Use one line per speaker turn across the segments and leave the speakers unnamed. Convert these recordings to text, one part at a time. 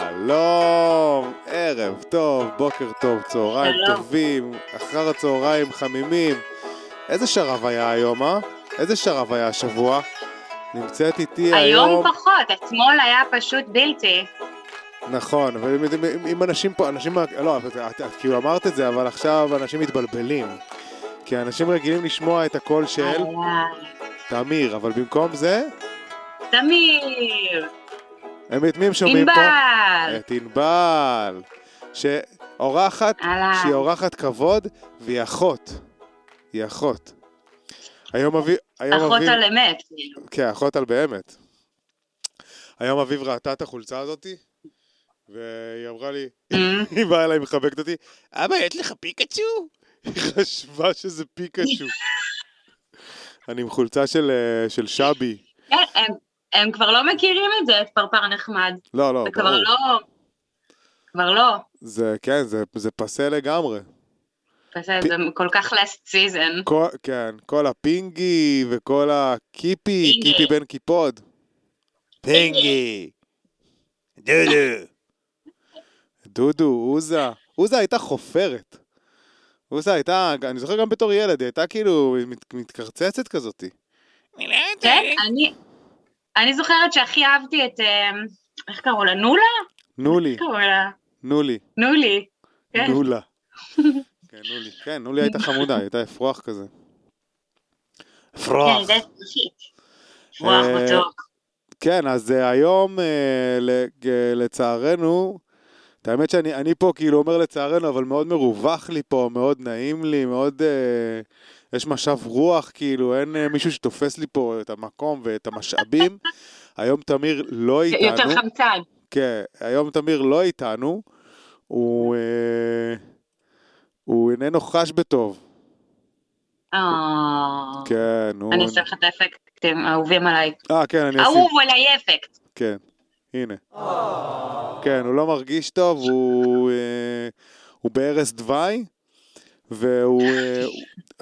שלום, ערב טוב, בוקר טוב, צהריים
שלום.
טובים, אחר הצהריים חמימים. איזה שרב היה היום, אה? איזה שרב היה השבוע? נמצאת איתי אה, היום...
היום פחות, אתמול היה פשוט בלתי.
נכון, אבל אם- אם- אם- אם אנשים פה, אנשים... לא, אבל את, את, את כאילו אמרת את זה, אבל עכשיו אנשים מתבלבלים. כי אנשים רגילים לשמוע את הקול של
אה. וואי,
תמיר, אבל במקום זה,
תמיר,
הם את מי הם שומעים פה?
ענבל,
את ענבל, שאורחת,
אה,
שהיא
אהלן,
אורחת כבוד, והיא אחות. היא אחות. היום אביב... היום
אחות
אביב...
על אמת, כאילו.
כן, אחות על באמת. היום אביב ראתה את החולצה הזאתי, והיא אמרה לי,
אמ,
היא באה אליי, מחבקת אותי, אבא, יש לך פיקאצ'ו? היא חשבה שזה פיקאצ'ו. אני עם חולצה של, אה, של שבי.
כן, הם- הם כבר לא מכירים את זה, את פרפר נחמד.
לא, לא,
זה כבר
ברור.
לא, כבר לא.
זה, כן, זה, זה פסה לגמרי.
בסדר, זה כל כך last season.
כל, כן, כל הפינגי וכל הקיפי,
פינגי.
קיפי בן קיפוד. פינגי. דודו. דודו, עוזה. עוזה הייתה חופרת. עוזה הייתה, אני זוכר גם בתור ילד, היא הייתה כאילו מת, מתקרצצת כזאתי. אני לא יודעת.
כן, אני... אני זוכרת שהכי אהבתי את, אמ, איך קראו לה? נולה?
נולי,
איך קראו לה?
נולי,
נולי. כן.
נולה. כן, נולי. כן, נולי הייתה חמודה, היא הייתה אפרוח כזה.
כן,
אפרוח.
זה שיט. וואו,
אה,
מתוק.
כן, אז אה, היום, אה, ל- אה, לצערנו, את האמת שאני אני פה כאילו אומר לצערנו, אבל מאוד מרווח לי פה, מאוד נעים לי, מאוד... אה, יש משב רוח, כאילו, אין אה, מישהו שתופס לי פה את המקום ואת המשאבים. היום תמיר לא
יותר
איתנו.
חמצן.
כן, היום תמיר לא איתנו. הוא... אה, הוא איננו חש בטוב.
אה.
כן, הוא...
אני אעשה לך את האפקטים האהובים עליי.
אה, כן, אני אשים.
אהוב עליי אפקט.
כן, הנה. כן, הוא לא מרגיש טוב, הוא, אה, הוא בערש דווי, והוא... אה, הוא-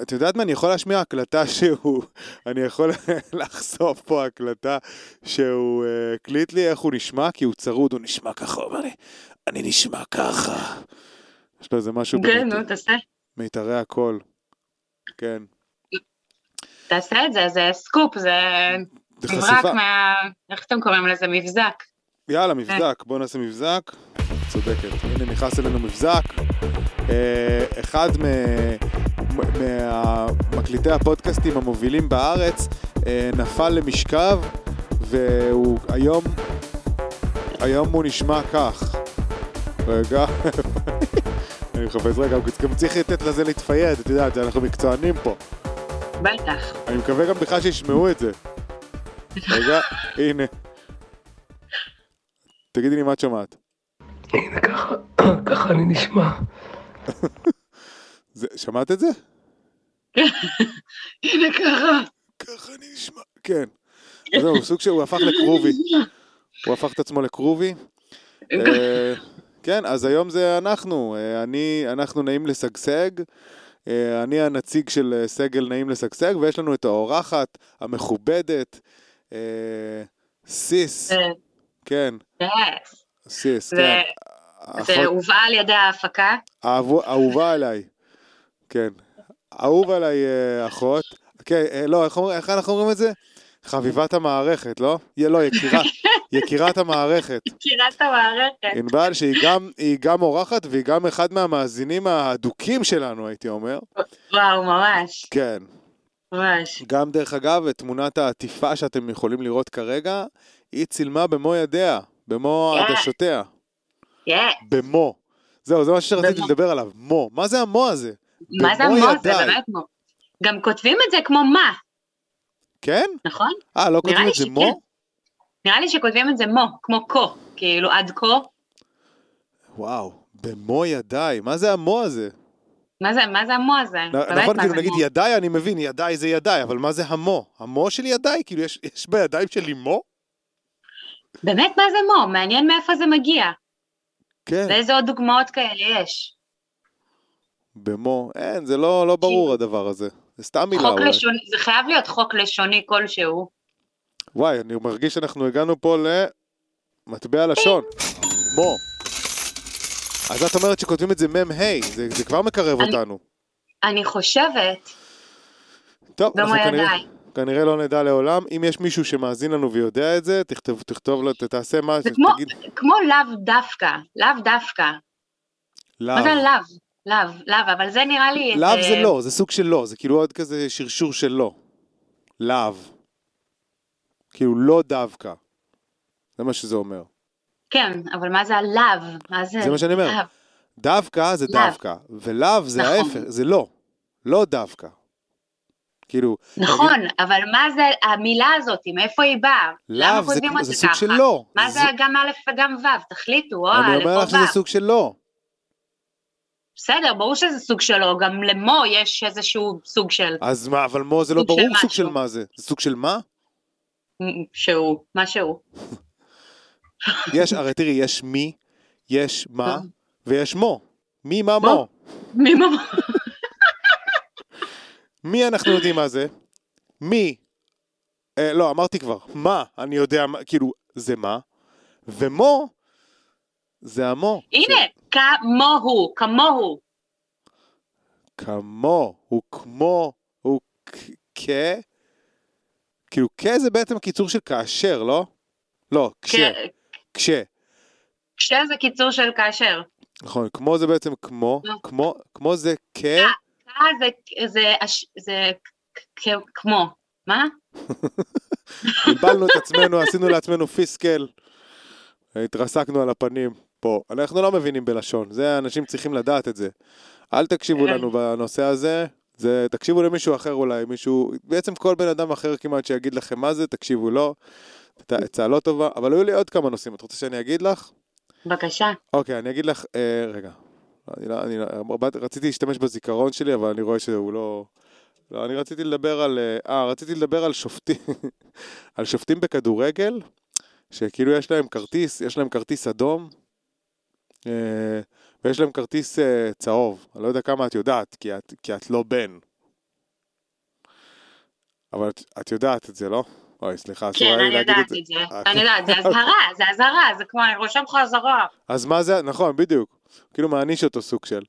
את יודעת מה, אני יכול להשמיע הקלטה שהוא... אני יכול לחשוף פה הקלטה שהוא אה, הקליט לי איך הוא נשמע, כי הוא צרוד, הוא נשמע ככה, הוא אומר לי, אני נשמע ככה. יש לו איזה משהו
כן,
במיתרי-
נו, תעשה.
מיתרי הקול. כן.
תעשה את זה, זה סקופ, זה
זה
מברק
חשיפה.
מה... איך אתם קוראים לזה? מבזק.
יאללה, מבזק, בוא נעשה מבזק. צודקת, הנה נכנס אלינו מבזק. אה, אחד מ- מ- מהמקליטי הפודקאסטים המובילים בארץ אה, נפל למשכב, והוא היום, היום הוא נשמע כך. רגע, אני מחפש רגע, גם צריך לתת לזה להתפייד, את יודעת, אנחנו מקצוענים פה.
בטח.
אני מקווה גם בכלל שישמעו את זה. רגע, הנה. תגידי לי מה את שומעת.
הנה ככה, ככה אני נשמע.
זה, שמעת את זה?
הנה ככה.
ככה אני נשמע. כן. אז זהו, סוג שהוא הפך לקרובי. הוא הפך את עצמו לקרובי. אה, כן, אז היום זה אנחנו. אה, אני, אנחנו נעים לשגשג. אה, אני הנציג של אה, סגל נעים לשגשג, ויש לנו את האורחת המכובדת, אה, סיס,
זה-
כן,
yes.
סיס,
אה, זה-
כן.
זה הובא על ידי ההפקה.
אהבו- אהובה עליי, כן. אהוב עליי אה, אחות. כן, אה, לא, איך, אומר, איך אנחנו אומרים את זה? חביבת המערכת, לא? יה- לא, יקירה, יקירת המערכת.
מכירת המערכת.
ענבל, שהיא גם, היא גם אורחת והיא גם אחד מהמאזינים האדוקים שלנו, הייתי אומר.
וואו, ממש.
כן.
ממש.
גם, דרך אגב, את תמונת העטיפה שאתם יכולים לראות כרגע, היא צילמה במו ידיה, במו
כן.
עדשותיה.
כן.
במו. זהו, זה מה שרציתי
במו.
לדבר עליו, מו. מה זה המו הזה?
מה זה
במו
המוח? זה
ידיי.
באמת מו. גם כותבים את זה כמו מה,
כן?
נכון?
אה, לא כותבים
לי
את זה
שכן.
מו?
נראה לי שכותבים את זה מו, כמו כה. כאילו, עד כה.
וואו, במו ידיי, מה זה המו הזה?
מה זה, מה זה המו הזה?
נ-
באמת,
נכון,
מה
כאילו
זה
נגיד
מו?
ידיי אני מבין, ידיי זה ידיי, אבל מה זה המו? המו של ידיי? כאילו יש- יש בידיים שלי מו?
באמת מה זה מו? מעניין מאיפה זה מגיע.
כן.
ואיזה עוד דוגמאות כאלה יש.
במו, אין, זה לא לא ברור הדבר הזה. זה סתם מילה
חוק
אולי.
לשוני, זה חייב להיות חוק לשוני כלשהו.
וואי, אני מרגיש שאנחנו הגענו פה ל... מטבע לשון. מו. אז את אומרת שכותבים את זה מ"ה, זה, זה כבר מקרב
אני-
אותנו.
אני חושבת,
טוב, אנחנו
במו
כנראה,
ידיי.
כנראה לא נדע לעולם. אם יש מישהו שמאזין לנו ויודע את זה, תכתוב, תכתוב לו, ת- תעשה מה,
זה כמו-
תגיד
כמו לאו דווקא, לאו דווקא.
לאו.
מה זה לאו? לאו, לאו, אבל זה נראה לי... אה,
לאו
איזה-
זה לא, זה סוג של לא, זה כאילו עוד כזה שרשור של לא. לאו. כאילו לא דווקא. זה מה שזה אומר.
כן, אבל מה זה הלאו? מה זה?
זה מה שאני אומר.
לאו.
דווקא זה
לאו.
דווקא, ולאו זה
נכון.
ההפך, זה לא. לא דווקא. כאילו,
נכון, אבל מה זה המילה הזאת? מאיפה היא באה? למה
לאו זה,
כותבים אותה
זה סוג
ככה?
של לא.
מה זה גם א' וגם ו'? תחליטו, או
אני
א'
אומר
או
לך שזה
ו'.
סוג של לא.
בסדר, ברור שזה סוג שלו, גם למו יש איזשהו סוג של...
אז מה, אבל מו זה לא
סוג של
ברור סוג של
משהו.
מה זה. זה סוג של מה?
שהוא, מה שהוא.
יש, הרי תראי, יש מי, יש מה,
אה.
ויש מו. מי, מה,
מו.
מו.
מי ממש?
מי אנחנו יודעים מה זה? מי? אה, לא, אמרתי כבר. מה? אני יודע, מה- כאילו, זה מה? ומו? זה המו.
הנה, כמוהו, כמוהו.
זה כמו, הוא כמו, הוא כ- כ... כאילו, כ זה בעצם קיצור של כאשר, לא? לא, כש,
כ-
כש.
כשזה קיצור של כאשר.
נכון, כמו זה בעצם כמו,
לא.
כמו, כמו זה כ...
אה, זה- זה אש- זה כ- כ- כמו. מה?
בלבלנו את עצמנו, עשינו לעצמנו פיסקל, התרסקנו על הפנים פה. אנחנו לא מבינים בלשון, זה אנשים צריכים לדעת את זה. אל תקשיבו
כן.
לנו בנושא הזה, זה תקשיבו למישהו אחר אולי, מישהו, בעצם כל בן אדם אחר כמעט שיגיד לכם מה זה, תקשיבו לו, את העצה לא טובה, אבל היו לי עוד כמה נושאים, את רוצה שאני אגיד לך?
בבקשה.
אוקיי, אני אגיד לך, אה, רגע. אני לא, אני לא, באתי- רציתי להשתמש בזיכרון שלי, אבל אני רואה שהוא לא... לא, אני רציתי לדבר על... אה, אה, רציתי לדבר על שופטים, על שופטים בכדורגל, שכאילו יש להם כרטיס, יש להם כרטיס אדום, אה, ויש להם כרטיס אה, צהוב. אני לא יודע כמה את יודעת, כי את, כי את לא בן. אבל את, את יודעת את זה, לא? אוי, סליחה, אסור
כן,
היה לי
אני
להגיד
יודעת
את זה.
את זה.
אה,
אני יודעת, זה אזהרה, זה אזהרה, זה כמו, אני רושם לך אזהרה.
אז מה זה, נכון, בדיוק. כאילו מעניש אותו סוג של.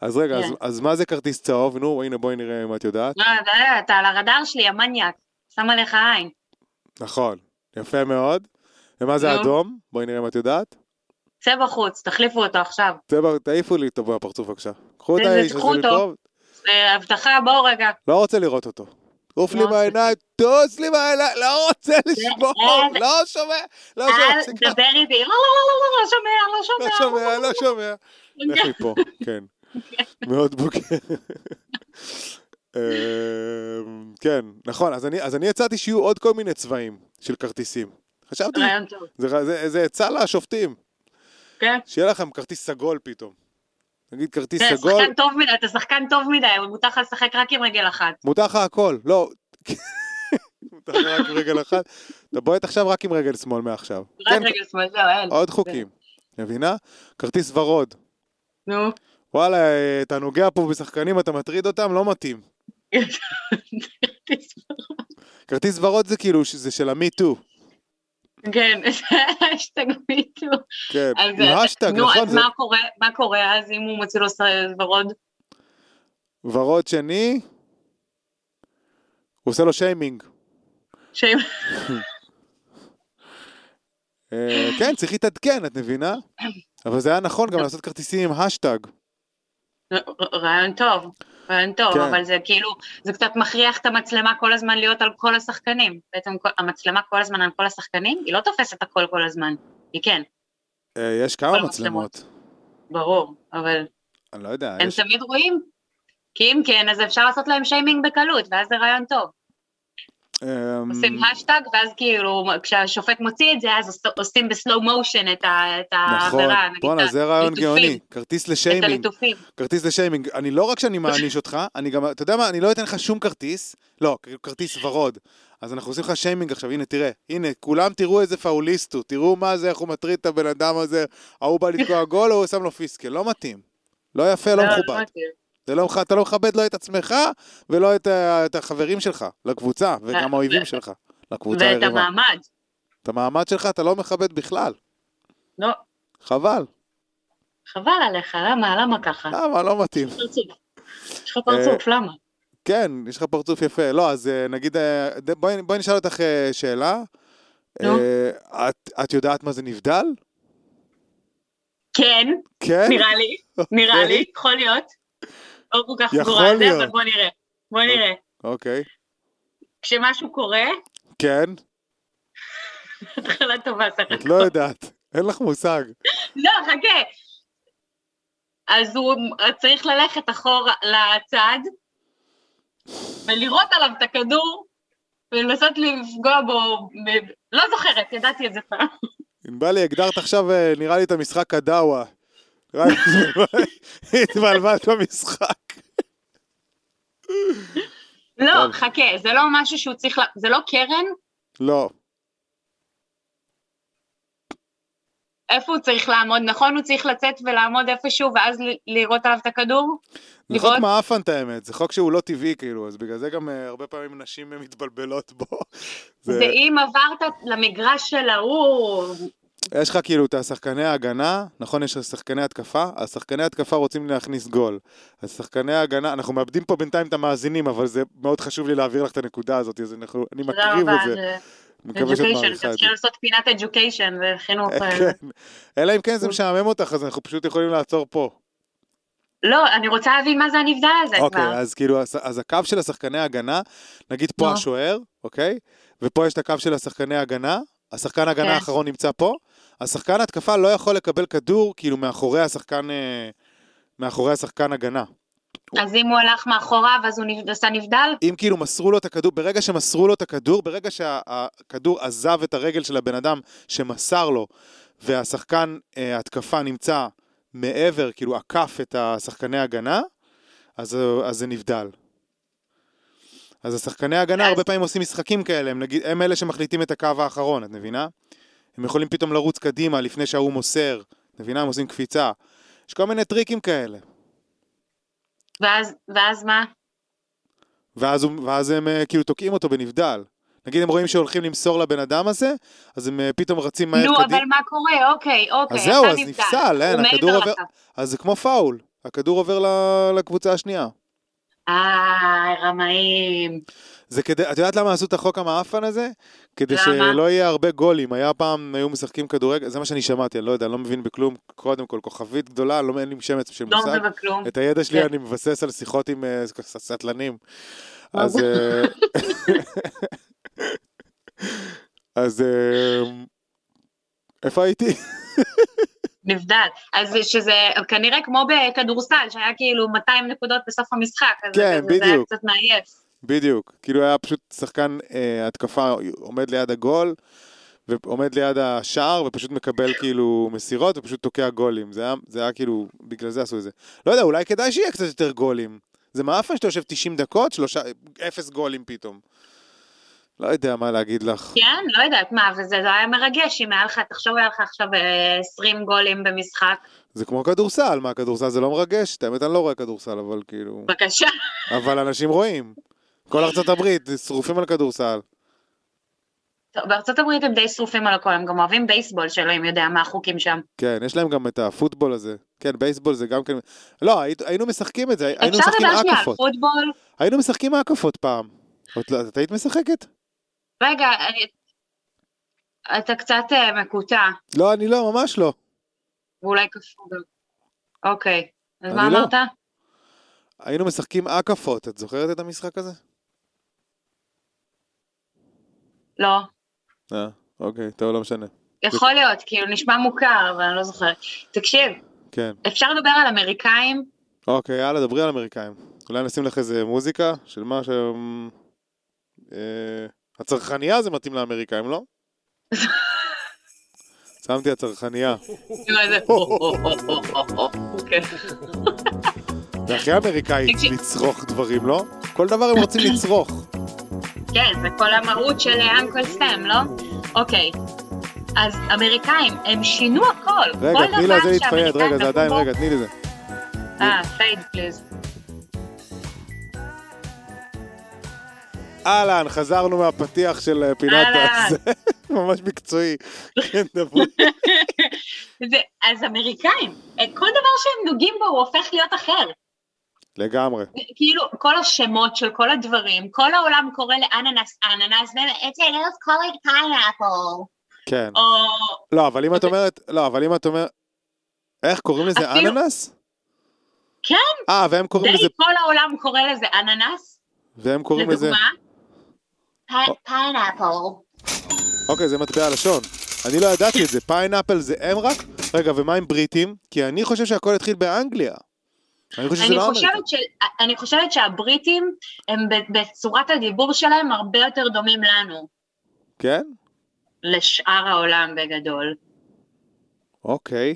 אז רגע, אז,
כן.
אז מה זה כרטיס צהוב? נו, הנה בואי נראה אם את יודעת.
לא, אתה- אתה על הרדאר שלי, המניאק. שם עליך עין. כן.
נכון, יפה מאוד. ומה זה
נו.
אדום? בואי נראה אם את יודעת.
צא בחוץ, תחליפו אותו עכשיו.
צבע, תעיפו לי אותו בפרצוף בבקשה. קחו את
איזה-
האיש הזה
קחו אותו.
מפה,
אה, הבטחה, בואו רגע.
לא רוצה לראות אותו. עוף לי
לא רוצה.
מהעיניים, טוס לי מהעיניים, לא רוצה לשמור,
אה,
לא שומע, לא שומע,
אל
תפסיק,
תדבר איתי. לא, לא, לא, לא, לא, לא שומע, לא
לא
שומע.
שומע, לא שומע. לך מפה, כן. מאוד בוגר. אמ, כן, נכון, אז אני- אז אני הצעתי שיהיו עוד כל מיני צבעים של כרטיסים. חשבתי,
רעיון טוב.
זה- זה זה עצה לשופטים,
כן.
שיהיה לכם כרטיס סגול פתאום. נגיד כרטיס
אתה
סגול,
שחקן טוב מדי, אתה שחקן טוב מדי, אבל מותר לך לשחק רק עם רגל אחת.
מותר לך הכל, לא. מותר לך רק עם רגל אחת. אתה בועט עכשיו רק עם רגל שמאל מעכשיו.
רק
כן,
רגל שמאל, זהו, אין.
עוד חוקים, מבינה? כרטיס ורוד.
נו.
וואלה, אה, אתה נוגע פה בשחקנים, אתה מטריד אותם, לא מתאים. כרטיס ורוד זה כאילו, ש- זה של המיטו.
כן, השתגמיתו.
כן,
אז, אה,
עם השטג,
נו,
נכון?
אז
זה
מה קורה, מה קורה אז אם הוא מוציא לו ס- ורוד?
ורוד שני, הוא עושה לו שיימינג.
שאם...
אה, כן, צריך להתעדכן, את מבינה? אבל זה היה נכון גם לעשות כרטיסים עם השטג.
ר- רעיון טוב, רעיון טוב,
כן.
אבל זה כאילו, זה קצת מכריח את המצלמה כל הזמן להיות על כל השחקנים. בעצם כל- המצלמה כל הזמן על כל השחקנים, היא לא תופסת הכל כל הזמן. היא כן,
אה, יש כמה
כל מצלמות.
מצלמות.
ברור, אבל
אני לא יודע,
הם
יש...
תמיד רואים. כי אם כן, אז אפשר לעשות להם שיימינג בקלות, ואז זה רעיון טוב.
אמ,
עושים השטג, ואז כאילו, כשהשופט מוציא את זה, אז עוש- עושים בסלואו מושן את ה- את
נכון,
העבירה. נגיד,
בואנה,
את
זה רעיון
הליטופים,
גאוני. כרטיס
את
לשיימינג.
הליטופים.
כרטיס לשיימינג. אני לא רק שאני מעניש אותך, אני גם, אתה יודע מה, אני לא אתן לך שום כרטיס, לא, כאילו כרטיס ורוד. אז אנחנו עושים לך שיימינג עכשיו, הנה תראה, הנה, כולם תראו איזה פאוליסט הוא, תראו מה זה, איך הוא מטריד את הבן אדם הזה, ההוא בא לתקוע גול, הוא שם לו פיסקל, לא מתאים. לא יפה, לא מכובד.
מתאים.
זה לא, אתה לא מכבד לא את עצמך, ולא את, ה- את החברים שלך, לקבוצה, וגם האויבים שלך, לקבוצה
ואת
היריבה.
המעמד.
את המעמד שלך אתה לא מכבד בכלל.
לא,
חבל.
חבל עליך, למה, למה ככה?
למה? לא מתאים.
פרצוף. יש לך פרצוף, למה?
כן, יש לך פרצוף יפה. לא, אז אה, נגיד, אה, ד- בואי בואי נשאל אותך אה, שאלה.
נו.
אה, את- את יודעת מה זה נבדל?
כן,
כן? אוקיי.
נראה לי, נראה לי, יכול להיות. לא כל כך סגורה על
יכול
זה, אבל
להיות.
בוא נראה. בוא נראה.
אוקיי.
כשמשהו קורה,
כן?
התחלה טובה סך
את לא
הכל.
יודעת. אין לך מושג.
לא, חכה. אז הוא צריך ללכת אחורה לצד, ולראות עליו את הכדור, ולנסות לפגוע בו, ב- לא זוכרת, ידעתי את זה פעם.
ענבלי, הגדרת עכשיו, אה, נראה לי, את המשחק הדאווה. נראה לי התבלבלת במשחק.
לא,
טוב.
חכה, זה לא משהו שהוא צריך, ל- זה לא קרן,
לא.
איפה הוא צריך לעמוד, נכון? הוא צריך לצאת ולעמוד איפשהו, ואז ל- לירות עליו את הכדור?
זה חוק
לראות?
מעפן את האמת, זה חוק שהוא לא טבעי כאילו, אז בגלל זה גם אה, הרבה פעמים נשים אה, מתבלבלות בו. זה-
זה אם עברת למגרש של ההוא,
יש לך כאילו את השחקני ההגנה, נכון? יש שחקני התקפה, אז שחקני התקפה רוצים להכניס גול. אז שחקני ההגנה, אנחנו מאבדים פה בינתיים את המאזינים, אבל זה מאוד חשוב לי להעביר לך את הנקודה הזאת, אז אנחנו, אני
תודה
מקריב
רבה,
את זה.
זה
מקווה שאת
education,
מעריכה את זה.
אפשר לעשות פינת education וחינוך. אה,
כן. אלא אם כן
אוקיי.
זה משעמם אותך, אז אנחנו פשוט יכולים לעצור פה.
לא, אני רוצה להבין מה זה הנבדל הזה
אוקיי,
כבר.
אז כאילו, אז- אז הקו של השחקני ההגנה, נגיד פה
נו.
השוער, אוקיי? ופה יש את הקו של השחקני ההגנה, השחקן
כן.
ההגנה האחרון נמצא פה, השחקן התקפה לא יכול לקבל כדור, כאילו, מאחורי השחקן... אה, מאחורי השחקן הגנה.
אז אם הוא הלך מאחוריו, אז הוא נבד- עשה נבדל?
אם כאילו מסרו לו את הכדור, ברגע שמסרו לו את הכדור, ברגע שהכדור עזב את הרגל של הבן אדם שמסר לו, והשחקן אה, התקפה נמצא מעבר, כאילו עקף את השחקני הגנה, אז, אז זה נבדל. אז השחקני הגנה
אז-
הרבה פעמים עושים משחקים כאלה, הם, נגיד, הם אלה שמחליטים את הקו האחרון, את מבינה? הם יכולים פתאום לרוץ קדימה לפני שההוא מוסר, את מבינה? הם עושים קפיצה. יש כל מיני טריקים כאלה.
ואז- ואז מה?
ואז, הוא- ואז הם אה, כאילו תוקעים אותו בנבדל. נגיד הם רואים שהולכים למסור לבן אדם הזה, אז הם אה, פתאום רצים מהר
נו,
קדימה.
אבל מה קורה? אוקיי, אוקיי,
אז זהו,
אתה
אז
נבדל.
נפסל, אין,
הוא מעבר
הכדור עובר...
לקו.
אז זה כמו פאול, הכדור עובר ל- לקבוצה השנייה.
אה, רמאים.
זה כדי, את יודעת למה עשו את החוק המעפן הזה? כדי
למה?
שלא יהיה הרבה גולים. היה פעם, היו משחקים כדורגל, זה מה שאני שמעתי, אני לא יודע, אני לא מבין בכלום. קודם כל, כוכבית גדולה, לא, אין לי שמץ של
לא
מושג.
מבין בכלום.
את הידע שלי
כן.
אני מבסס על שיחות עם אה, ס- ס- סטלנים.
מה
אז... אה, אז... אה, איפה הייתי?
נבדל. אז שזה כנראה כמו בכדורסל, שהיה כאילו 200 נקודות בסוף המשחק. אז
כן,
זה- זה היה
בדיוק.
קצת מעייף.
בדיוק. כאילו היה פשוט שחקן אה, התקפה עומד ליד הגול, ועומד ליד השער, ופשוט מקבל כאילו מסירות, ופשוט תוקע גולים. זה היה, זה היה כאילו, בגלל זה עשו את זה. לא יודע, אולי כדאי שיהיה קצת יותר גולים. זה מעפן שאתה יושב 90 דקות, שלושה, אפס גולים פתאום. לא יודע מה להגיד לך.
כן, לא יודעת מה, וזה זה היה מרגש, אם היה לך, תחשוב, היה לך עכשיו אה, 20 גולים במשחק.
זה כמו כדורסל, מה כדורסל זה לא מרגש? את האמת אני לא רואה כדורסל, אבל כאילו...
בבקשה.
אבל אנשים רואים. כל ארצות הברית שרופים על כדורסל.
טוב, בארצות הברית הם די שרופים על הכל, הם גם אוהבים בייסבול, שאלוהים יודע מה החוקים שם.
כן, יש להם גם את הפוטבול הזה. כן, בייסבול זה גם כן... לא, היית- היינו משחקים את זה, היינו
אפשר
משחקים
לדבר שנייה על
הקפות.
פוטבול?
היינו משחקים הקפות פעם. את לא- את היית משחקת?
רגע, אני... אתה קצת אה, מקוטע,
לא, אני לא, ממש לא.
ואולי קשור גם. אוקיי, אז
אני
מה
לא.
אמרת?
היינו משחקים הקפות, את זוכרת את המשחק הזה?
לא.
אה, אוקיי, טוב, לא משנה.
יכול להיות, כאילו נשמע מוכר, אבל אני לא זוכרת. תקשיב,
כן.
אפשר לדבר על אמריקאים?
אוקיי, יאללה, דברי על אמריקאים. אולי נשים לך איזה מוזיקה של מה ש... אה, הצרכנייה זה מתאים לאמריקאים, לא? שמתי הצרכנייה.
כאילו, איזה- כן.
זה הכי אמריקאי
תקשיב.
לצרוך דברים, לא? כל דבר הם רוצים לצרוך.
כן, זה כל המהות של אנקל סטם, לא? אוקיי. אז אמריקאים, הם שינו הכל. כל
רגע, תני
דבר
לזה להתפייד,
שהאמריקאים
רגע, זה
נגעו
עדיין,
בו-
רגע, תני לזה.
אה, פייד פליז.
אהלן, חזרנו מהפתיח של אה, פינת
אהלן.
הזה. ממש מקצועי. כן, דברי.
זה, אז אמריקאים, אה, כל דבר שהם נוגעים בו הוא הופך להיות אחר.
לגמרי.
כאילו, כל השמות של כל הדברים, כל העולם קורא לאננס אננס, ו-it's a little colored pineapple.
כן.
או
לא, אבל אם את
אוקיי.
אומרת, לא, אבל אם את אומרת, איך קוראים לזה
אפילו-
אננס?
כן.
אה, והם קוראים לזה,
די, כל העולם קורא לזה אננס,
והם קוראים לזה,
לדוגמה. פיינאפל.
אוקיי, זה מטבע לשון. אני לא ידעתי את זה, פיינאפל זה הם רק? רגע, ומה עם בריטים? כי אני חושב שהכל התחיל באנגליה. אני חושב שזה
אני
לא אמריקה.
חושבת, ש... אני חושבת שהבריטים הם ב- בצורת הדיבור שלהם הרבה יותר דומים לנו,
כן?
לשאר העולם בגדול.
אוקיי.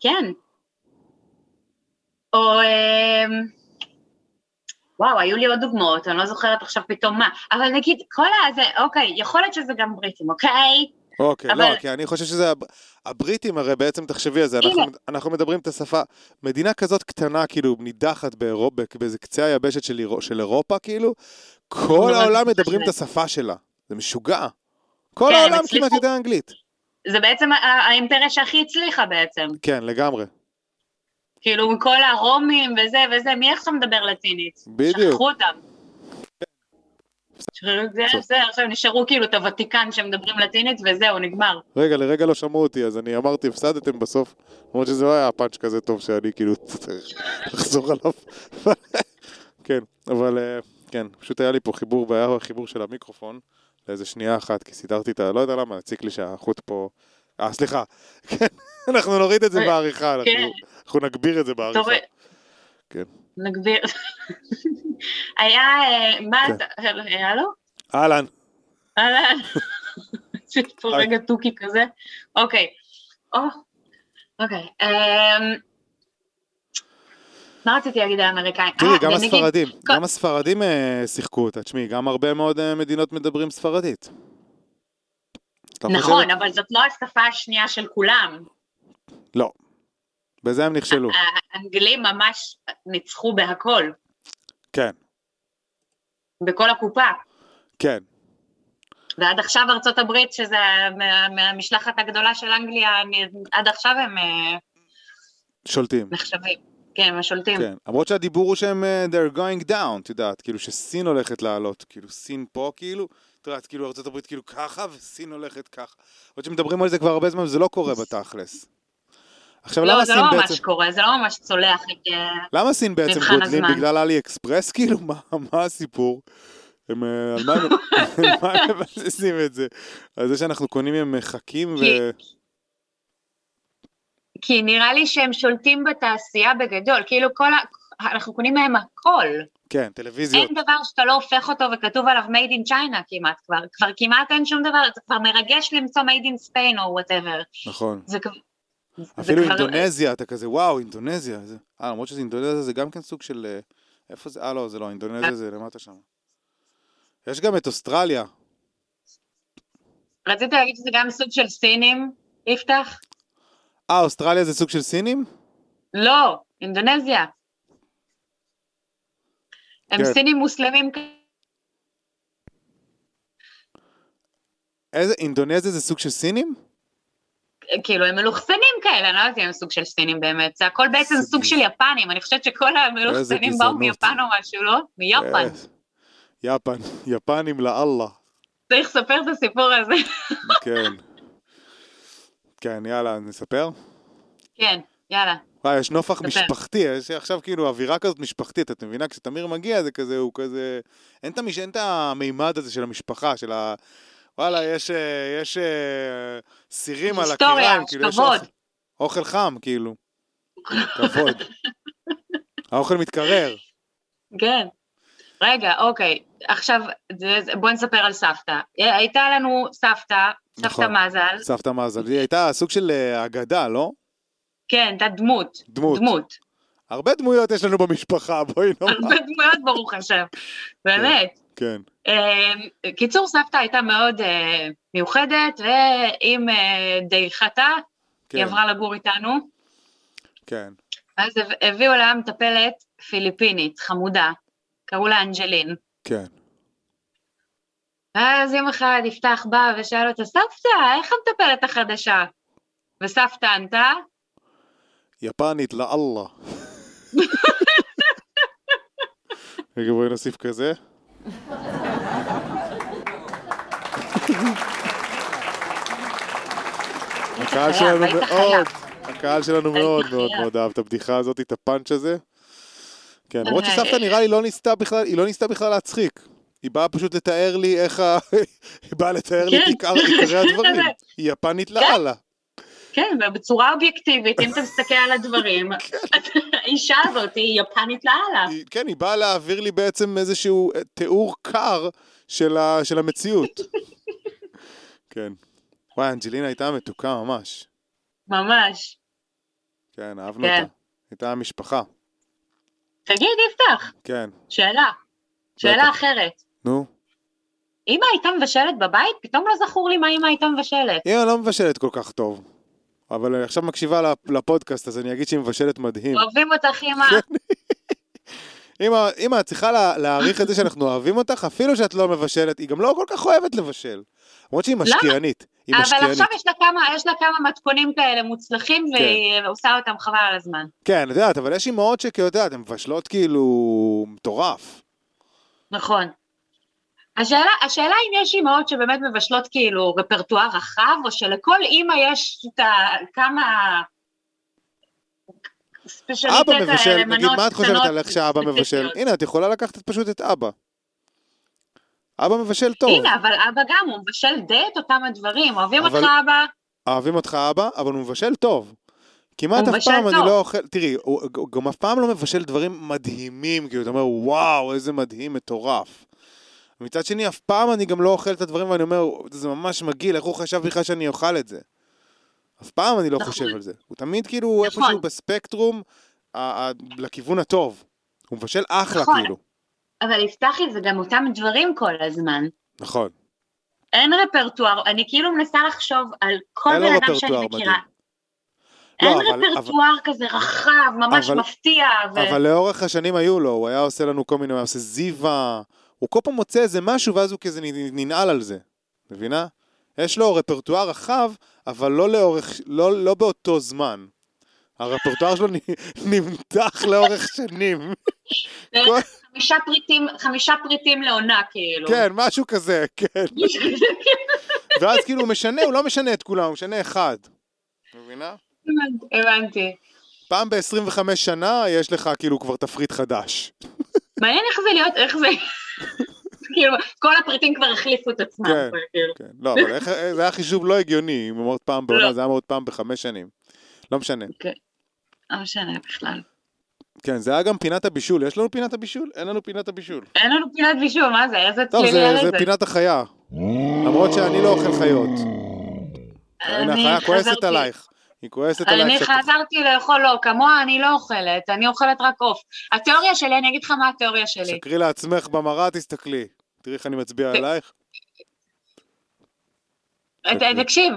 כן. או... אמ, וואו, היו לי עוד דוגמאות, אני לא זוכרת עכשיו פתאום מה. אבל נגיד, כל הזה, אוקיי, יכול להיות שזה גם בריטים, אוקיי?
אוקיי, לא,
אבל-
כי אני חושב שזה... הב- הבריטים הרי בעצם, תחשבי על זה, אנחנו,
הנה.
אנחנו מדברים את השפה, מדינה כזאת קטנה, כאילו, נידחת באירופה, באיזה קצה היבשת של, אירו- של אירופה, כאילו, כל
מדברים את
העולם
השפה
מדברים את
שלהם.
השפה שלה. זה משוגע. כל
כן,
העולם
הצליחו.
כמעט יודע אנגלית.
זה בעצם ה- האימפריה שהכי הצליחה בעצם.
כן, לגמרי.
כאילו, כל הרומים וזה וזה, מי עכשיו מדבר לטינית?
בדיוק.
שכחו אותם. שכחו- זה, זה, עכשיו נשארו כאילו את הוותיקן שמדברים לטינית וזהו, נגמר.
רגע, לרגע לא שמעו אותי, אז אני אמרתי, הפסדתם בסוף, למרות שזה לא היה פאנץ' כזה טוב שאני כאילו צריך לחזור עליו. כן, אבל אה, כן, פשוט היה לי פה חיבור, והיה חיבור של המיקרופון לאיזה שנייה אחת, כי סידרתי את ה... לא יודע למה, הציק לי שהחוט פה... אה, סליחה. כן, אנחנו נוריד את זה
אה,
בעריכה, אנחנו-
כן.
אנחנו נגביר את זה
אתה
בעריכה.
רואה-
כן.
נגביר. היה, אה, מה
כן.
אתה, היה לו?
אהלן,
אה, אהלן. יש פה
היי.
רגע תוכי כזה. אוקיי. או, אוקיי. אמ, מה רציתי להגיד על האמריקאים?
תראי,
אה,
גם
ונגיד-
הספרדים,
כל-
גם הספרדים אה, שיחקו אותה, תשמעי, גם הרבה מאוד אה, מדינות מדברים ספרדית. אתה חושב-
נכון, אבל זאת לא השפה השנייה של כולם.
לא. בזה הם נכשלו.
אה, האנגלים ממש ניצחו בהכל,
כן,
בכל הקופה.
כן.
ועד עכשיו ארצות הברית, שזה מה- מהמשלחת הגדולה של אנגליה, אני- עד עכשיו הם אה,
שולטים.
נחשבים. כן, הם השולטים.
כן. למרות שהדיבור הוא שהם אה, they're going down, את יודעת, כאילו שסין הולכת לעלות, כאילו סין פה כאילו, את יודעת, כאילו ארה"ב כאילו ככה וסין הולכת ככה. למרות שמדברים על זה כבר הרבה זמן וזה לא קורה בתכלס. עכשיו
לא,
למה
זה
סין
לא
בעצם,
ממש קורה, זה לא ממש צולח. אה,
למה סין בעצם
מבחן
גודלים
הזמן.
בגלל אלי אקספרס כאילו? מה- מה הסיפור? הם, אה, על מה הם- על מה הם מבססים את זה? על זה שאנחנו קונים הם מחכים ו...
כי- כי נראה לי שהם שולטים בתעשייה בגדול, כאילו כל ה... אנחנו קונים מהם הכל.
כן, טלוויזיות.
אין דבר שאתה לא הופך אותו וכתוב עליו made in China כמעט כבר. כבר כמעט אין שום דבר, זה כבר מרגש למצוא made in Spain או whatever.
נכון.
זה כבר... זה
אפילו
כבר-
אינדונזיה, אתה כזה, וואו, אינדונזיה. זה- אה, למרות שזה אינדונזיה, זה גם כן סוג של... אה, איפה זה? אה, לא, זה לא, אינדונזיה זה למטה שם. יש גם את אוסטרליה.
רציתי להגיד שזה גם סוג של סינים, יפתח?
אה, אוסטרליה זה סוג של סינים?
לא, אינדונזיה. הם
כן.
סינים מוסלמים כ-
איזה, אינדונזיה זה סוג של סינים?
כאילו הם מלוכסנים כאלה, אני לא יודעת אם הם סוג של סינים באמת, זה הכל בעצם
איזה
סוג של יפנים, אני חושבת שכל המלוכסנים באו
גזענות.
מיפן או משהו, לא? מיפן.
אה, יפן, יפנים לאללה.
צריך לספר את הסיפור הזה.
כן. כן, יאללה, נספר?
כן, יאללה.
וואי, יש נופח
ספר.
משפחתי, יש עכשיו כאילו אווירה כזאת משפחתית, את מבינה? כשתמיר מגיע זה כזה, הוא כזה... אין את, המש... אין את המימד הזה של המשפחה, של ה... וואלה, יש, אה, יש אה, סירים על
היסטוריה,
הקיריים,
יש
כאילו, יש
כבוד.
אוכל, אוכל חם, כאילו. כבוד. האוכל מתקרר.
כן. רגע, אוקיי, עכשיו זה- זה- בוא נספר על סבתא. אה, הייתה לנו סבתא, סבתא
נכון.
מזל,
סבתא מזל, היא הייתה סוג של אה, אגדה, לא?
כן, הייתה דמות,
דמות.
דמות.
הרבה דמויות יש לנו במשפחה, בואי נאמר.
הרבה דמויות ברוך השם, באמת.
כן,
אה, קיצור, סבתא הייתה מאוד אה, מיוחדת, ועם אה, דעיכתה, היא
כן,
עברה לגור איתנו,
כן.
אז הב- הביאו לה מטפלת פיליפינית, חמודה, קראו לה אנג'לין.
כן.
ואז יום אחד יפתח בא ושאל אותה, סבתא, איך המטפלת החדשה? וסבתא ענתה,
יפנית לאללה. רגע, בואי נוסיף כזה. הקהל
חייב,
שלנו
היית
מאוד,
חייב.
הקהל שלנו
היית
מאוד
חייב.
מאוד מאוד אהב את הבדיחה הזאת, את הפאנץ' הזה. כן, למרות
אבל-
שסבתא נראה לי לא ניסתה בכלל, היא לא ניסתה בכלל להצחיק. היא באה פשוט לתאר לי איך ה... היא באה לתאר לי את
כן.
עיקר- עיקרי הדברים.
כזה.
היא יפנית לאללה.
כן, בצורה אובייקטיבית, אם אתה מסתכל על הדברים, האישה הזאת היא יפנית לאללה.
היא- כן, היא באה להעביר לי בעצם איזשהו אה, תיאור קר של, ה, של המציאות. כן. וואי, אנג'לינה הייתה מתוקה ממש.
ממש.
כן, אהבנו
כן.
אותה. הייתה משפחה.
תגיד, יפתח,
כן,
שאלה. שאלה
בטח.
אחרת.
נו.
אמא הייתה מבשלת בבית? פתאום לא זכור לי מה אמא הייתה מבשלת.
היא לא מבשלת כל כך טוב. אבל אני עכשיו מקשיבה לפ- לפודקאסט, אז אני אגיד שהיא מבשלת מדהים.
אוהבים אותך, אמא.
אמא, אמא, את צריכה לה, להעריך את זה שאנחנו אוהבים אותך, אפילו שאת לא מבשלת, היא גם לא כל כך אוהבת לבשל. למרות שהיא משקיענית. היא
אבל
משקיענית.
עכשיו יש לה כמה, יש לה כמה מתכונים כאלה מוצלחים, והיא עושה אותם חבל על הזמן.
כן, את יודעת, אבל יש אמהות שכאילו, את יודעת, הן מבשלות כאילו מטורף.
נכון. השאלה, השאלה אם יש אימהות שבאמת מבשלות כאילו רפרטואר רחב, או שלכל אימא יש את ה... כמה... ספיישליטט
אבא מבשל,
מנות
נגיד, מה את חושבת
אה, קטנות
על איך שאבא מבשל?
ספציפיות.
הנה, את יכולה לקחת את- פשוט את אבא. אבא מבשל טוב.
הנה, אבל אבא גם, הוא מבשל די את אותם הדברים. אוהבים
אבל-
אותך אבא,
אוהבים אותך אבא, אבל הוא מבשל טוב. כמעט
הוא
אף
מבשל
פעם אני
טוב.
לא אוכל, תראי, הוא ג- גם אף פעם לא מבשל דברים מדהימים, כאילו, אתה אומר, וואו, איזה מדהים, מטורף. מצד שני, אף פעם אני גם לא אוכל את הדברים ואני אומר, זה ממש מגעיל, איך הוא חשב בכלל שאני אוכל את זה? אף פעם אני לא
נכון.
חושב על זה. הוא תמיד כאילו
נכון.
איפשהו בספקטרום, ה- ה- לכיוון הטוב. הוא מבשל אחלה,
נכון.
כאילו.
אבל יפתחי זה גם אותם דברים כל הזמן.
נכון.
אין רפרטואר, אני כאילו מנסה לחשוב על כל
אין לו
בן אדם שאני
רפרטואר
מכירה.
מדהים.
אין
לא, אבל-
רפרטואר כזה רחב, ממש
אבל-
מפתיע. ו-
אבל לאורך השנים היו לו, הוא היה עושה לנו כל מיני, הוא היה עושה זיווה, הוא כל פעם מוצא איזה משהו ואז הוא כזה נ- ננעל על זה, מבינה? יש לו רפרטואר רחב, אבל לא לאורך, לא, לא באותו זמן. הרפרטואר שלו נ- נמתח לאורך שנים.
בערך
כל-
חמישה פריטים, חמישה פריטים לעונה, כאילו.
כן, משהו כזה, כן. ואז כאילו הוא משנה, הוא לא משנה את כולם, הוא משנה אחד. מבינה?
הבנתי.
פעם ב-25 שנה יש לך כאילו כבר תפריט חדש.
מעניין איך זה להיות, איך זה... כאילו, כל הפריטים כבר החליפו את עצמם.
כן.
כאילו.
כן, לא, אבל איך, זה היה חישוב לא הגיוני, אם אמרת פעם בעונה,
לא.
זה היה מאוד פעם בחמש שנים. לא משנה.
לא משנה בכלל.
כן, זה היה גם פינת הבישול. יש לנו פינת הבישול? אין לנו פינת הבישול.
אין לנו פינת בישול, מה זה? איזה
טוב,
צלילי
זה,
היה
זה
לזה.
פינת החיה. למרות שאני לא אוכל חיות. הנה,
אה, אני
החיה כועסת
חזרתי-
עלייך. היא כועסת
אני
עלייך. שאת-
חזרתי לאכול לא, כמוה אני לא אוכלת, אני אוכלת רק עוף. התיאוריה שלי, אני אגיד לך מה התיאוריה שלי.
שקרי לעצמך במראה, תסתכלי. תראי איך אני מצביע
ת-
עלייך.
אה, ת- תקשיב,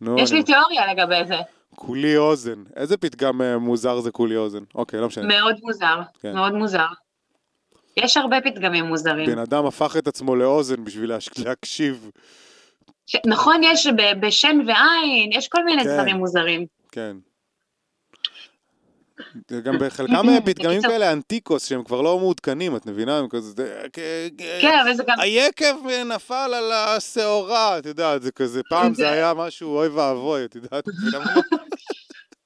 נו,
יש לי
אני...
תיאוריה לגבי זה.
כולי אוזן. איזה פתגם אה, מוזר זה כולי אוזן? אוקיי, לא משנה.
מאוד מוזר,
כן.
מאוד מוזר. יש הרבה פתגמים מוזרים.
בן אדם הפך את עצמו לאוזן בשביל להש- להקשיב.
ש... נכון, יש ב... בשן ועין, יש כל מיני
כן.
דברים מוזרים.
כן. זה גם בחלקם אה, פתגמים
בקיצור.
כאלה אנטיקוס שהם כבר לא מעודכנים, את מבינה? הם כזה... זה- כ- כ-
כן, אבל זה גם...
היקב אה, נפל על השעורה, את יודעת, זה כזה, פעם זה היה משהו אוי ואבוי, את יודעת, את מבינה מה?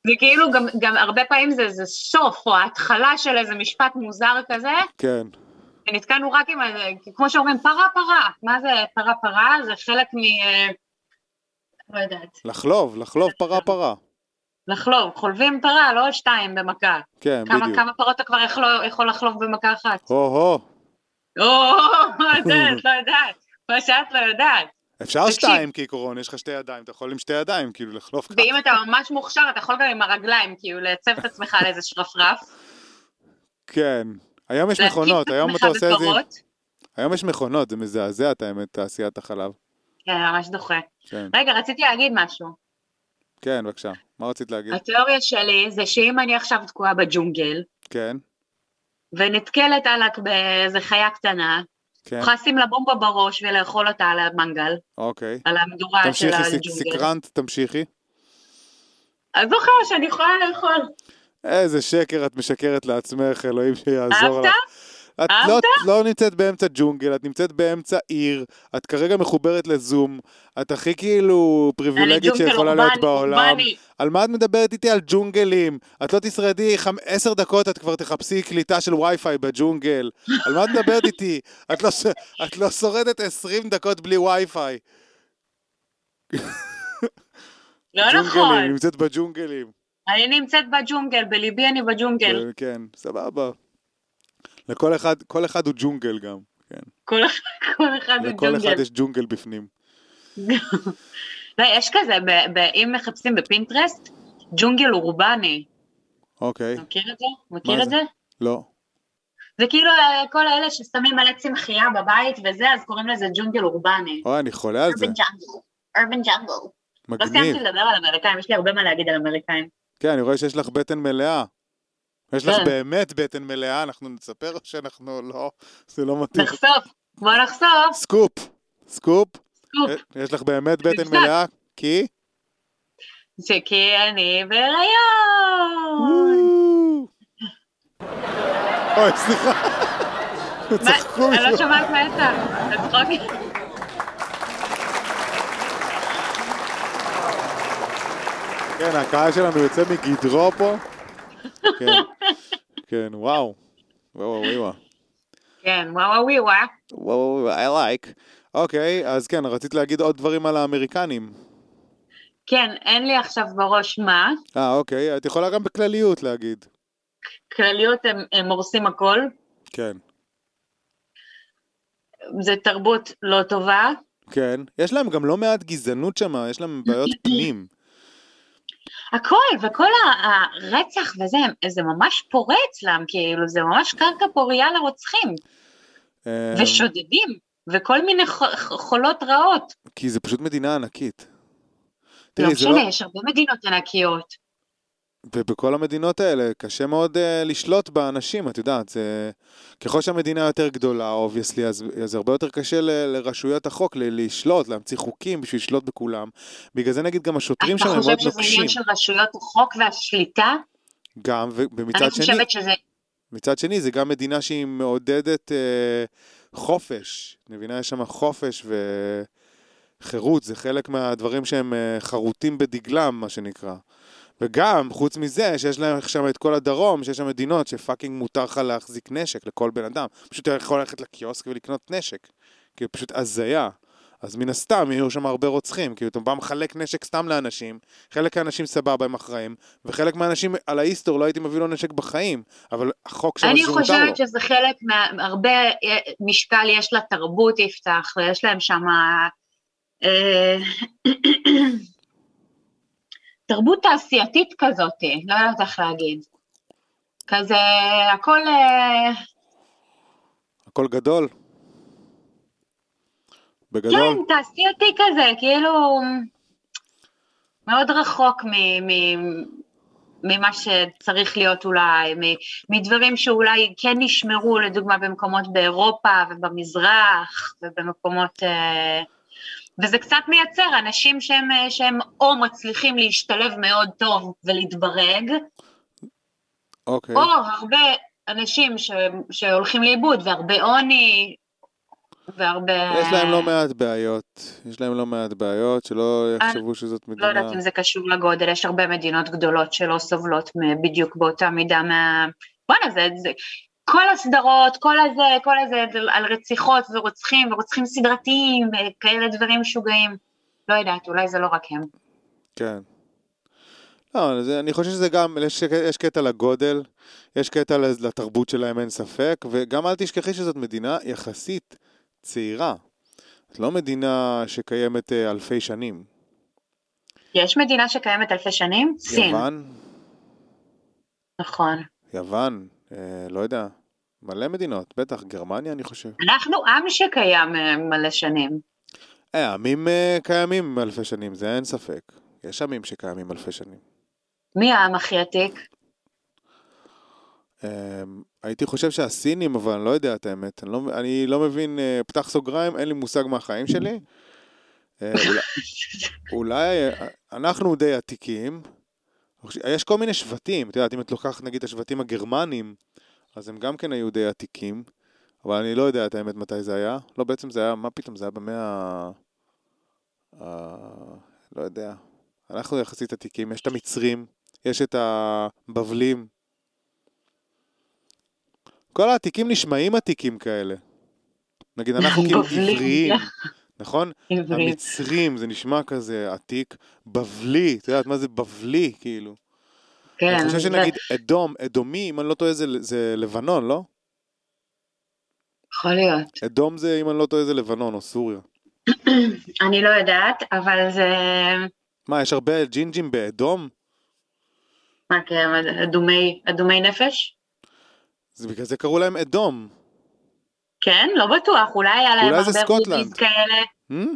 זה כאילו גם, גם הרבה פעמים זה, זה סוף או ההתחלה של איזה משפט מוזר כזה,
כן,
ונתקענו רק עם, ה- כמו שאומרים, פרה פרה. מה זה פרה פרה? זה חלק מ... אה, לא יודעת.
לחלוב, לחלוב פרה פרה,
לחלוב, חולבים פרה, לא עוד שתיים במכה.
כן,
כמה,
בדיוק.
כמה פרות אתה כבר יכול, יכול לחלוב במכה אחת?
הו-הו,
או, מה זה, את לא יודעת. מה שאת לא יודעת.
אפשר
תקשיב.
שתיים כעיקרון, יש לך שתי ידיים, אתה יכול עם שתי ידיים, כאילו, לחלוב ככה.
ואם אתה ממש מוכשר, אתה יכול גם עם הרגליים, כאילו, לייצב את עצמך על איזה שרפרף.
כן. היום יש מכונות, היום אתה עושה את זה, עם-
בפרות.
היום יש מכונות, זה מזעזע את האמת, תעשיית החלב.
כן, ממש דוחה.
כן,
רגע, רציתי להגיד משהו.
כן, בבקשה, מה רצית להגיד?
התיאוריה שלי זה שאם אני עכשיו תקועה בג'ונגל,
כן,
ונתקלת עלק באיזה חיה קטנה,
כן,
יכולה לשים לה בומבה בראש ולאכול אותה על המנגל,
אוקיי.
על המדורה של
תמשיכי, סק-
הג'ונגל.
סקרנת, תמשיכי.
אז זוכר שאני יכולה לאכול.
איזה שקר את משקרת לעצמך, אלוהים שיעזור לך.
אהבת?
את
אהבת?
לא, לא נמצאת באמצע ג'ונגל, את נמצאת באמצע עיר, את כרגע מחוברת לזום, את הכי כאילו פריבילגית
אני ג'ונגל
שיכולה
אורבני,
להיות בעולם.
אורבני.
על מה את מדברת איתי? על ג'ונגלים. את לא תשרדי חמ- עשר דקות, את כבר תחפשי קליטה של וי-פיי בג'ונגל. על מה את מדברת איתי? את לא, ש... את לא שורדת עשרים דקות בלי וי-פיי.
לא
ג'ונגלים,
נכון.
נמצאת בג'ונגלים.
אני נמצאת בג'ונגל, בליבי אני בג'ונגל.
כן, כן, סבבה. לכל אחד, כל אחד הוא ג'ונגל גם. כן.
כל אחד- כל אחד הוא
לכל אחד
ג'ונגל.
יש ג'ונגל בפנים.
לא, יש כזה, ב- ב- אם מחפשים בפינטרסט, ג'ונגל אורבני.
אוקיי,
אתה מכיר את זה? מכיר
מה
את
זה?
זה?
לא.
זה כאילו אה, כל האלה ששמים מלא צמחייה בבית וזה, אז קוראים לזה ג'ונגל אורבני.
אוי, אני חולה על זה.
Urban Jungle. Urban Jungle. לא
מגניב.
סיימתי לדבר על אמריקאים, יש לי הרבה מה להגיד על אמריקאים.
כן, אני רואה שיש לך בטן מלאה. יש לך
כן.
באמת בטן מלאה, אנחנו נספר או שאנחנו לא... זה לא מתאים.
נחשוף, בוא נחשוף.
סקופ, סקופ. אה,
סקופ.
יש לך באמת בטן
מבזק.
מלאה? כי?
שכי אני בהיריון.
אוי, סליחה.
מה?
צחקו
אני לא
משהו.
שומעת מה יצא. הצחוק?
כן, הקהל שלנו יוצא מגדרו פה. כן, כן, וואו. וואו, וואו, וואו.
כן, וואו וואו וואו. וואו.
וואו, I like. אוקיי, אז כן, רצית להגיד עוד דברים על האמריקנים.
כן, אין לי עכשיו בראש מה.
אה, אוקיי, את יכולה גם בכלליות להגיד.
כלליות הם, הם הורסים הכל.
כן.
זה תרבות לא טובה.
כן. יש להם גם לא מעט גזענות שם, יש להם בעיות פנים.
הכל, וכל ה- הרצח וזה, הם- זה ממש פורה אצלם, כאילו, זה ממש קרקע פורייה לרוצחים.
אה,
ושודדים, וכל מיני ח- ח- חולות רעות.
אה, כי זה פשוט מדינה ענקית.
לא
תראי, זה
משנה,
לא...
יש הרבה מדינות ענקיות.
ובכל המדינות האלה קשה מאוד אה, לשלוט באנשים, את יודעת, זה... ככל שהמדינה יותר גדולה, אובייסלי, אז, אז הרבה יותר קשה ל, לרשויות החוק ל, לשלוט, להמציא חוקים בשביל לשלוט בכולם. בגלל זה נגיד גם השוטרים
אתה
שם הם
חושב
מאוד
שזה
נוקשים.
עניין של רשויות החוק והשליטה?
גם,
אני
ומצד שני,
חושבת שזה...
מצד שני, זה גם מדינה שהיא מעודדת אה, חופש. את מבינה? יש שם חופש וחירות, זה חלק מהדברים שהם אה, חרוטים בדגלם, מה שנקרא. וגם, חוץ מזה, שיש להם שם את כל הדרום, שיש שם מדינות שפאקינג מותר לך להחזיק נשק לכל בן אדם. פשוט אתה יכול ללכת לקיוסק ולקנות נשק. כאילו, פשוט הזיה. אז מן הסתם יהיו שם הרבה רוצחים, כאילו אתה בא מחלק נשק סתם לאנשים, חלק מהאנשים סבבה הם אחראים, וחלק מהאנשים על האיסטור לא הייתי מביא לו נשק בחיים, אבל החוק שם
אני
זה מותר לו.
חושבת שזה חלק מה... הרבה אה, משקל יש לתרבות יפתח, ויש להם אה, שם... תרבות תעשייתית כזאת, לא יודעת איך להגיד. כזה, הכל... אה,
הכל גדול. בגדול,
כן, תעשייתי כזה, כאילו... מאוד רחוק מ- מ- ממה שצריך להיות אולי, מ- מדברים שאולי כן נשמרו, לדוגמה, במקומות באירופה ובמזרח ובמקומות... אה, וזה קצת מייצר אנשים שהם, אה, שהם או מצליחים להשתלב מאוד טוב ולהתברג,
אוקיי.
או הרבה אנשים ש, שהולכים לאיבוד, והרבה עוני, והרבה...
יש להם לא מעט בעיות, יש להם לא מעט בעיות, שלא יחשבו שזאת
לא
מדינה...
יודעת אם זה קשור לגודל, יש הרבה מדינות גדולות שלא סובלות מ- בדיוק באותה מידה מה... בואנה, זה, זה... כל הסדרות, כל הזה, כל הזה, זה על רציחות ורוצחים, ורוצחים סדרתיים, וכאלה דברים משוגעים. לא יודעת, אולי זה לא רק הם.
כן. לא, זה, אני חושב שזה גם, יש, יש קטע לגודל, יש קטע לז- לתרבות שלהם, אין ספק, וגם אל תשכחי שזאת מדינה יחסית צעירה. זאת לא מדינה שקיימת אה, אלפי שנים.
יש מדינה שקיימת אלפי שנים? סין.
יוון,
נכון.
יוון, אה, לא יודע, מלא מדינות, בטח, גרמניה אני חושב.
אנחנו עם שקיים אה, מלא שנים.
אה, עמים אה, קיימים אלפי שנים, זה אין ספק. יש עמים שקיימים אלפי שנים.
מי העם הכי עתיק?
אמ, הייתי חושב שהסינים, אבל אני לא יודע את האמת. אני לא, אני לא מבין, אה, פתח סוגריים, אין לי מושג מהחיים שלי. אה, אולי, אולי אה, אנחנו די עתיקים, יש כל מיני שבטים, את יודעת, אם את לוקחת נגיד את השבטים הגרמנים, אז הם גם כן היו די עתיקים, אבל אני לא יודע את האמת מתי זה היה. לא, בעצם זה היה, מה פתאום, זה היה במאה ה... ה- לא יודע. אנחנו יחסית עתיקים, יש את המצרים, יש את הבבלים. כל העתיקים נשמעים עתיקים כאלה. נגיד, אנחנו כאילו עבריים,
בבלים.
נכון?
עברית.
המצרים, זה נשמע כזה עתיק, בבלי, את יודעת מה זה בבלי, כאילו.
כן,
אני חושב
זה-
שנגיד אדום, אדומי, אם אני לא טועה זה, זה לבנון, לא?
יכול להיות.
אדום זה, אם אני לא טועה זה לבנון או סוריה.
אני לא יודעת, אבל זה...
מה, יש הרבה ג'ינג'ים באדום?
מה, כן, אדומי, אדומי נפש?
זה בגלל זה קראו להם אדום.
כן, לא בטוח, אולי היה להם
אולי זה
הרבה
סקוטלנד.
רוביז כאלה,
Hmm?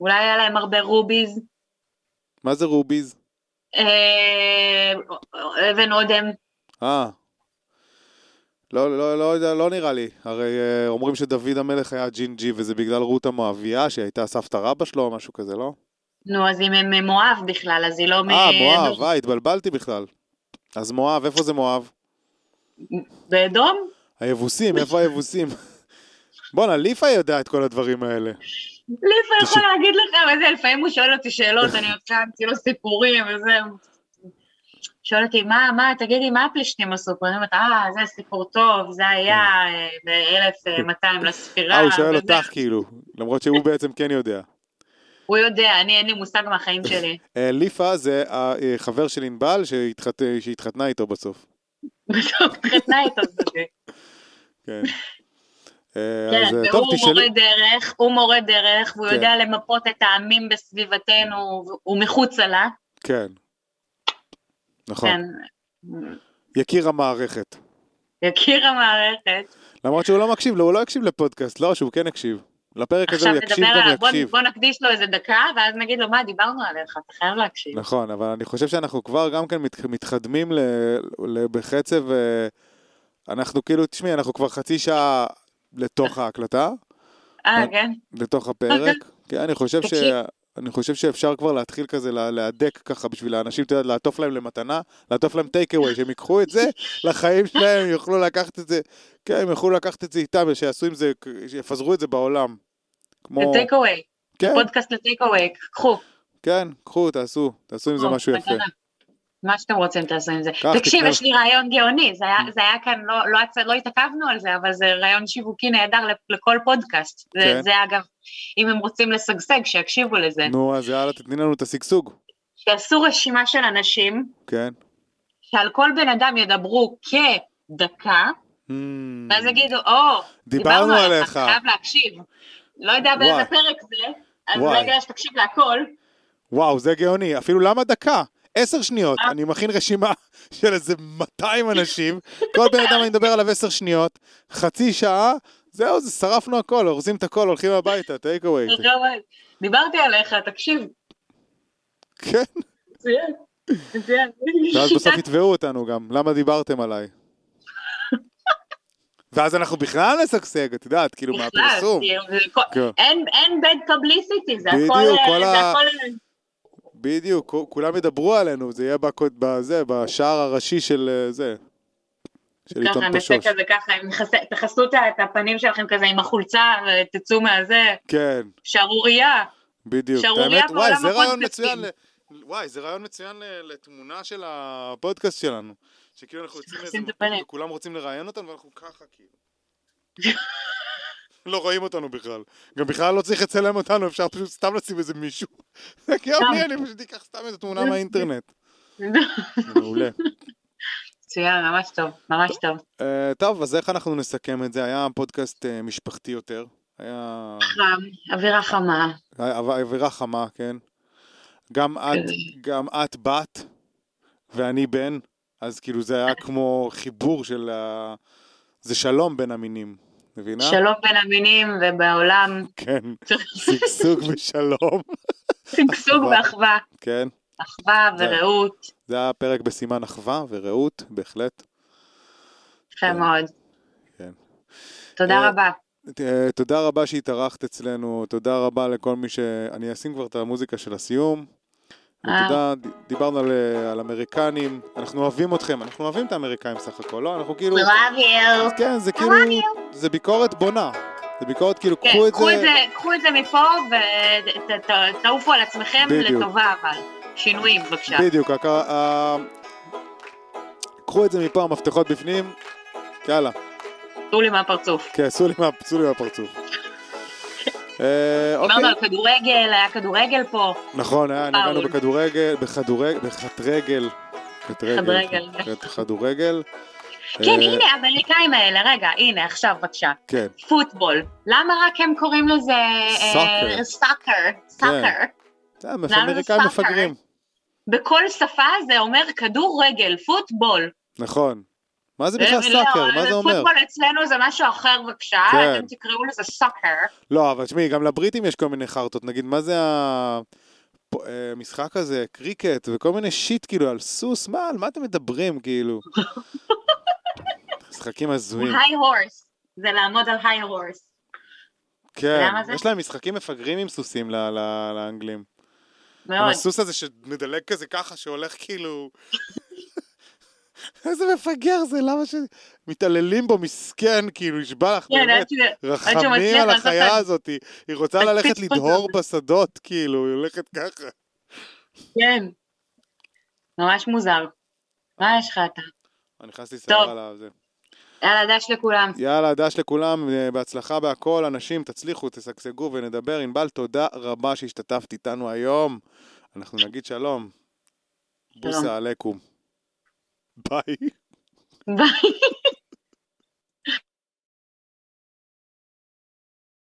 אולי היה להם הרבה רוביז.
מה זה רוביז?
אה, אבן אודם,
אה. לא, לא, לא, יודע, לא נראה לי. הרי אה, אומרים שדוד המלך היה ג'ינג'י וזה בגלל רות המואביה שהייתה סבתא רבא שלו או משהו כזה, לא?
נו, אז אם הם ממואב בכלל, אז היא לא מ...
אה, מואב, אה, התבלבלתי בכלל. אז מואב, איפה זה מואב?
באדום?
היבוסים, איפה היבוסים? בואנה, ליפה יודע את כל הדברים האלה.
ליפה
תשמע.
יכול להגיד לך, וזה, לפעמים הוא שואל אותי שאלות, אני עושה, אמציא לו סיפורים וזה. שואל אותי, מה, מה, תגידי, מה הפלישתים עשו פה? אני אומרת, אה, זה סיפור טוב, זה היה אה, ב-1200 לספירה.
כן. אה, הוא שואל
וזה."
אותך כאילו, למרות שהוא בעצם כן יודע.
הוא יודע, אני, אין לי מושג מהחיים שלי.
אה, ליפה זה החבר של ענבל שהתחת... שהתחתנה איתו בסוף.
בסוף התחתנה איתו. זה.
כן. אה,
כן,
אז, אה,
והוא מורה
תשאלי-
דרך, הוא מורה דרך, והוא
כן.
יודע למפות את העמים בסביבתנו ומחוצה לה.
כן. נכון.
כן.
יקיר המערכת.
יקיר המערכת.
למרות שהוא לא מקשיב לו, הוא לא יקשיב לפודקאסט, לא, שהוא כן יקשיב. לפרק הזה
עכשיו
הוא יקשיב
נדבר
גם
עליו, בוא-
יקשיב.
בוא נקדיש לו איזה דקה, ואז נגיד לו, מה, דיברנו עליך, אתה חייב להקשיב.
נכון, אבל אני חושב שאנחנו כבר גם כן מת, מתחדמים ל, ל, בקצב, אה, אנחנו כאילו, תשמעי, אנחנו כבר חצי שעה לתוך ההקלטה,
אה,
כן.
כן?
לתוך הפרק, כי אני חושב ש...
תקשיב.
אני חושב שאפשר כבר להתחיל כזה לה- להדק ככה בשביל האנשים, אתה יודע, לעטוף להם למתנה, לעטוף להם טייק אווי, שהם ייקחו את זה לחיים שלהם, יוכלו לקחת את זה, כן, הם יוכלו לקחת את זה איתם, ושיעשו עם זה, שיפזרו את זה בעולם.
זה
כמו,
טייק אווי,
כן,
פודקאסט לטייק אווי, קחו.
כן, קחו, תעשו, תעשו עם זה
קחו,
משהו יפה.
מתנה. מה שאתם רוצים תעשו עם זה.
קח,
תקשיב,
תקנה.
יש לי רעיון גאוני, זה
Mm.
היה- זה היה כאן, לא- לא הצ- לא התעכבנו על זה, אבל זה רעיון שיווקי נהדר לפ- לכל פודקאסט. זה-
כן.
זה אגב, אם הם רוצים לשגשג, שיקשיבו לזה.
נו, אז יאללה, תתני לנו את השגשוג,
שיעשו רשימה של אנשים,
כן.
שעל כל בן אדם ידברו כדקה, ואז יגידו, או,
Mm. דיברנו עליך.
חייב להקשיב. לא יודע
וואי.
באיזה פרק זה, אז
וואי.
אולי כדאי שתקשיב להכל.
וואו, זה גאוני. אפילו למה דקה? עשר שניות.
אה.
אני מכין רשימה של איזה 200 אנשים, כל בן אדם אני מדבר עליו עשר שניות, חצי שעה, זהו, זה שרפנו הכל, אורזים את הכל, הולכים הביתה, טייק אווי.
לא, דיברתי עליך, תקשיב,
כן,
מצוין. מצוין.
ואז בסוף יתבעו אותנו גם, למה דיברתם עליי? ואז אנחנו בכלל נשגשג, את יודעת, כאילו,
בכלל,
מהפרסום.
כאילו, זה כל-
כן.
אין- אין bad publicity, זה
בדיוק,
הכל... אה,
כל
זה
ה-
הכל-
בדיוק, כו- כולם ידברו עלינו, זה יהיה בקוד- בזה, בשער הראשי של אה, זה, של
ככה,
עיתון
נעשה
פשוש.
כזה ככה, עם מכסה- תכסו את ה- את הפנים שלכם כזה עם החולצה, ותצאו מהזה,
כן.
שערורייה.
בדיוק.
שערורייה
האמת, וואי,
בעולם
זה רעיון
הפודקאסטים.
מצוין, ל- וואי, זה רעיון מצוין ל- לתמונה של הפודקאסט שלנו. שכאילו אנחנו יוצאים מאיזה
מכסים את
מקום
הפנים.
וכולם רוצים לראיין אותנו ואנחנו ככה כאילו. לא רואים אותנו בכלל. גם בכלל לא צריך לצלם אותנו, אפשר פשוט סתם לשים איזה מישהו. זה גאוני, אני פשוט אקח סתם איזה תמונה מהאינטרנט. מעולה.
מצוין, ממש טוב, ממש טוב.
אה, טוב, אז איך אנחנו נסכם את זה? היה פודקאסט אה, משפחתי יותר. היה...
חם, אווירה חמה.
אוויר- אווירה חמה, כן. גם את, גם את בת, ואני בן, אז כאילו זה היה כמו חיבור של ה... זה שלום בין המינים, מבינה?
שלום בין המינים ובעולם,
כן, שגשוג ושלום,
שגשוג
אחווה.
ואחווה,
כן.
אחווה
זה-
ורעות,
זה היה פרק בסימן אחווה ורעות, בהחלט.
יפה
כן,
מאוד.
כן. אה,
תודה רבה.
אה, תודה רבה שהתארחת אצלנו, תודה רבה לכל מי ש... אני אשים כבר את המוזיקה של הסיום, ותודה, ד- דיברנו על, אה, על אמריקנים, אנחנו אוהבים אתכם, אנחנו אוהבים את האמריקאים סך הכל, לא? אנחנו כאילו...
love
אז
you.
כן, זה
I
כאילו,
love
זה ביקורת בונה. זה ביקורת כאילו,
כן,
קחו את
קחו את
זה,
זה- קחו את זה מפה ותעופו על עצמכם
בדיוק.
לטובה אבל. שינויים בבקשה.
בדיוק, הכ- ה- קחו את זה מפה, המפתחות בפנים, יאללה,
תנו לי מהפרצוף.
כן, עשו לי מה- עשו לי מהפרצוף. אה, אוקיי,
דיברנו על כדורגל, היה כדורגל פה.
נכון, היה,
פאול.
נגענו בכדורגל, בכדורגל, בחתרגל.
חדרגל.
חדורגל.
כן,
אה,
הנה, האמריקאים האלה, רגע, הנה, עכשיו, בבקשה.
כן,
פוטבול. למה רק הם קוראים לזה... אה,
Soccer. כן.
סאקר. סאקר.
זה היה מפ-
למה זה
אמריקאים
סאקר? אה?
מפגרים.
בכל שפה זה אומר כדורגל, פוטבול.
נכון. מה זה בכלל
לא,
סאקר? מה זה אומר?
פוטבול אצלנו זה משהו אחר, בבקשה.
כן.
אתם תקראו לזה סאקר.
לא, אבל תשמעי, גם לבריטים יש כל מיני חרטות. נגיד, מה זה אה, המשחק הזה, קריקט, וכל מיני שיט, כאילו, על סוס? מה, על מה אתם מדברים, כאילו? משחקים הזויים.
היי הורס. זה לעמוד על היי הורס.
כן,
למה זה?
יש להם משחקים מפגרים עם סוסים ל- ל- לאנגלים. עם
מאוד.
הסוס הזה שמדלג כזה ככה, שהולך כאילו... איזה מפגר זה, למה שמתעללים בו, מסכן, כאילו, נשבע לך,
כן,
באמת.
עד שהוא- שהוא
רחמים
מצליח
על
לעשות את
החיה
ה-
הזאת, היא רוצה
את
ללכת
הפיצפוס
לדהור
הזה.
בשדות, כאילו, היא הולכת ככה.
כן. ממש מוזר. מה יש לך אתה?
אני נכנסתי
טוב.
שערה לזה.
יאללה, דש לכולם.
יאללה, דש לכולם, אה, בהצלחה בהכל, אנשים, תצליחו, תשגשגו ונדבר. ענבל, תודה רבה שהשתתפת איתנו היום. אנחנו נגיד שלום.
שלום.
בוסה עליכום. ביי.
ביי.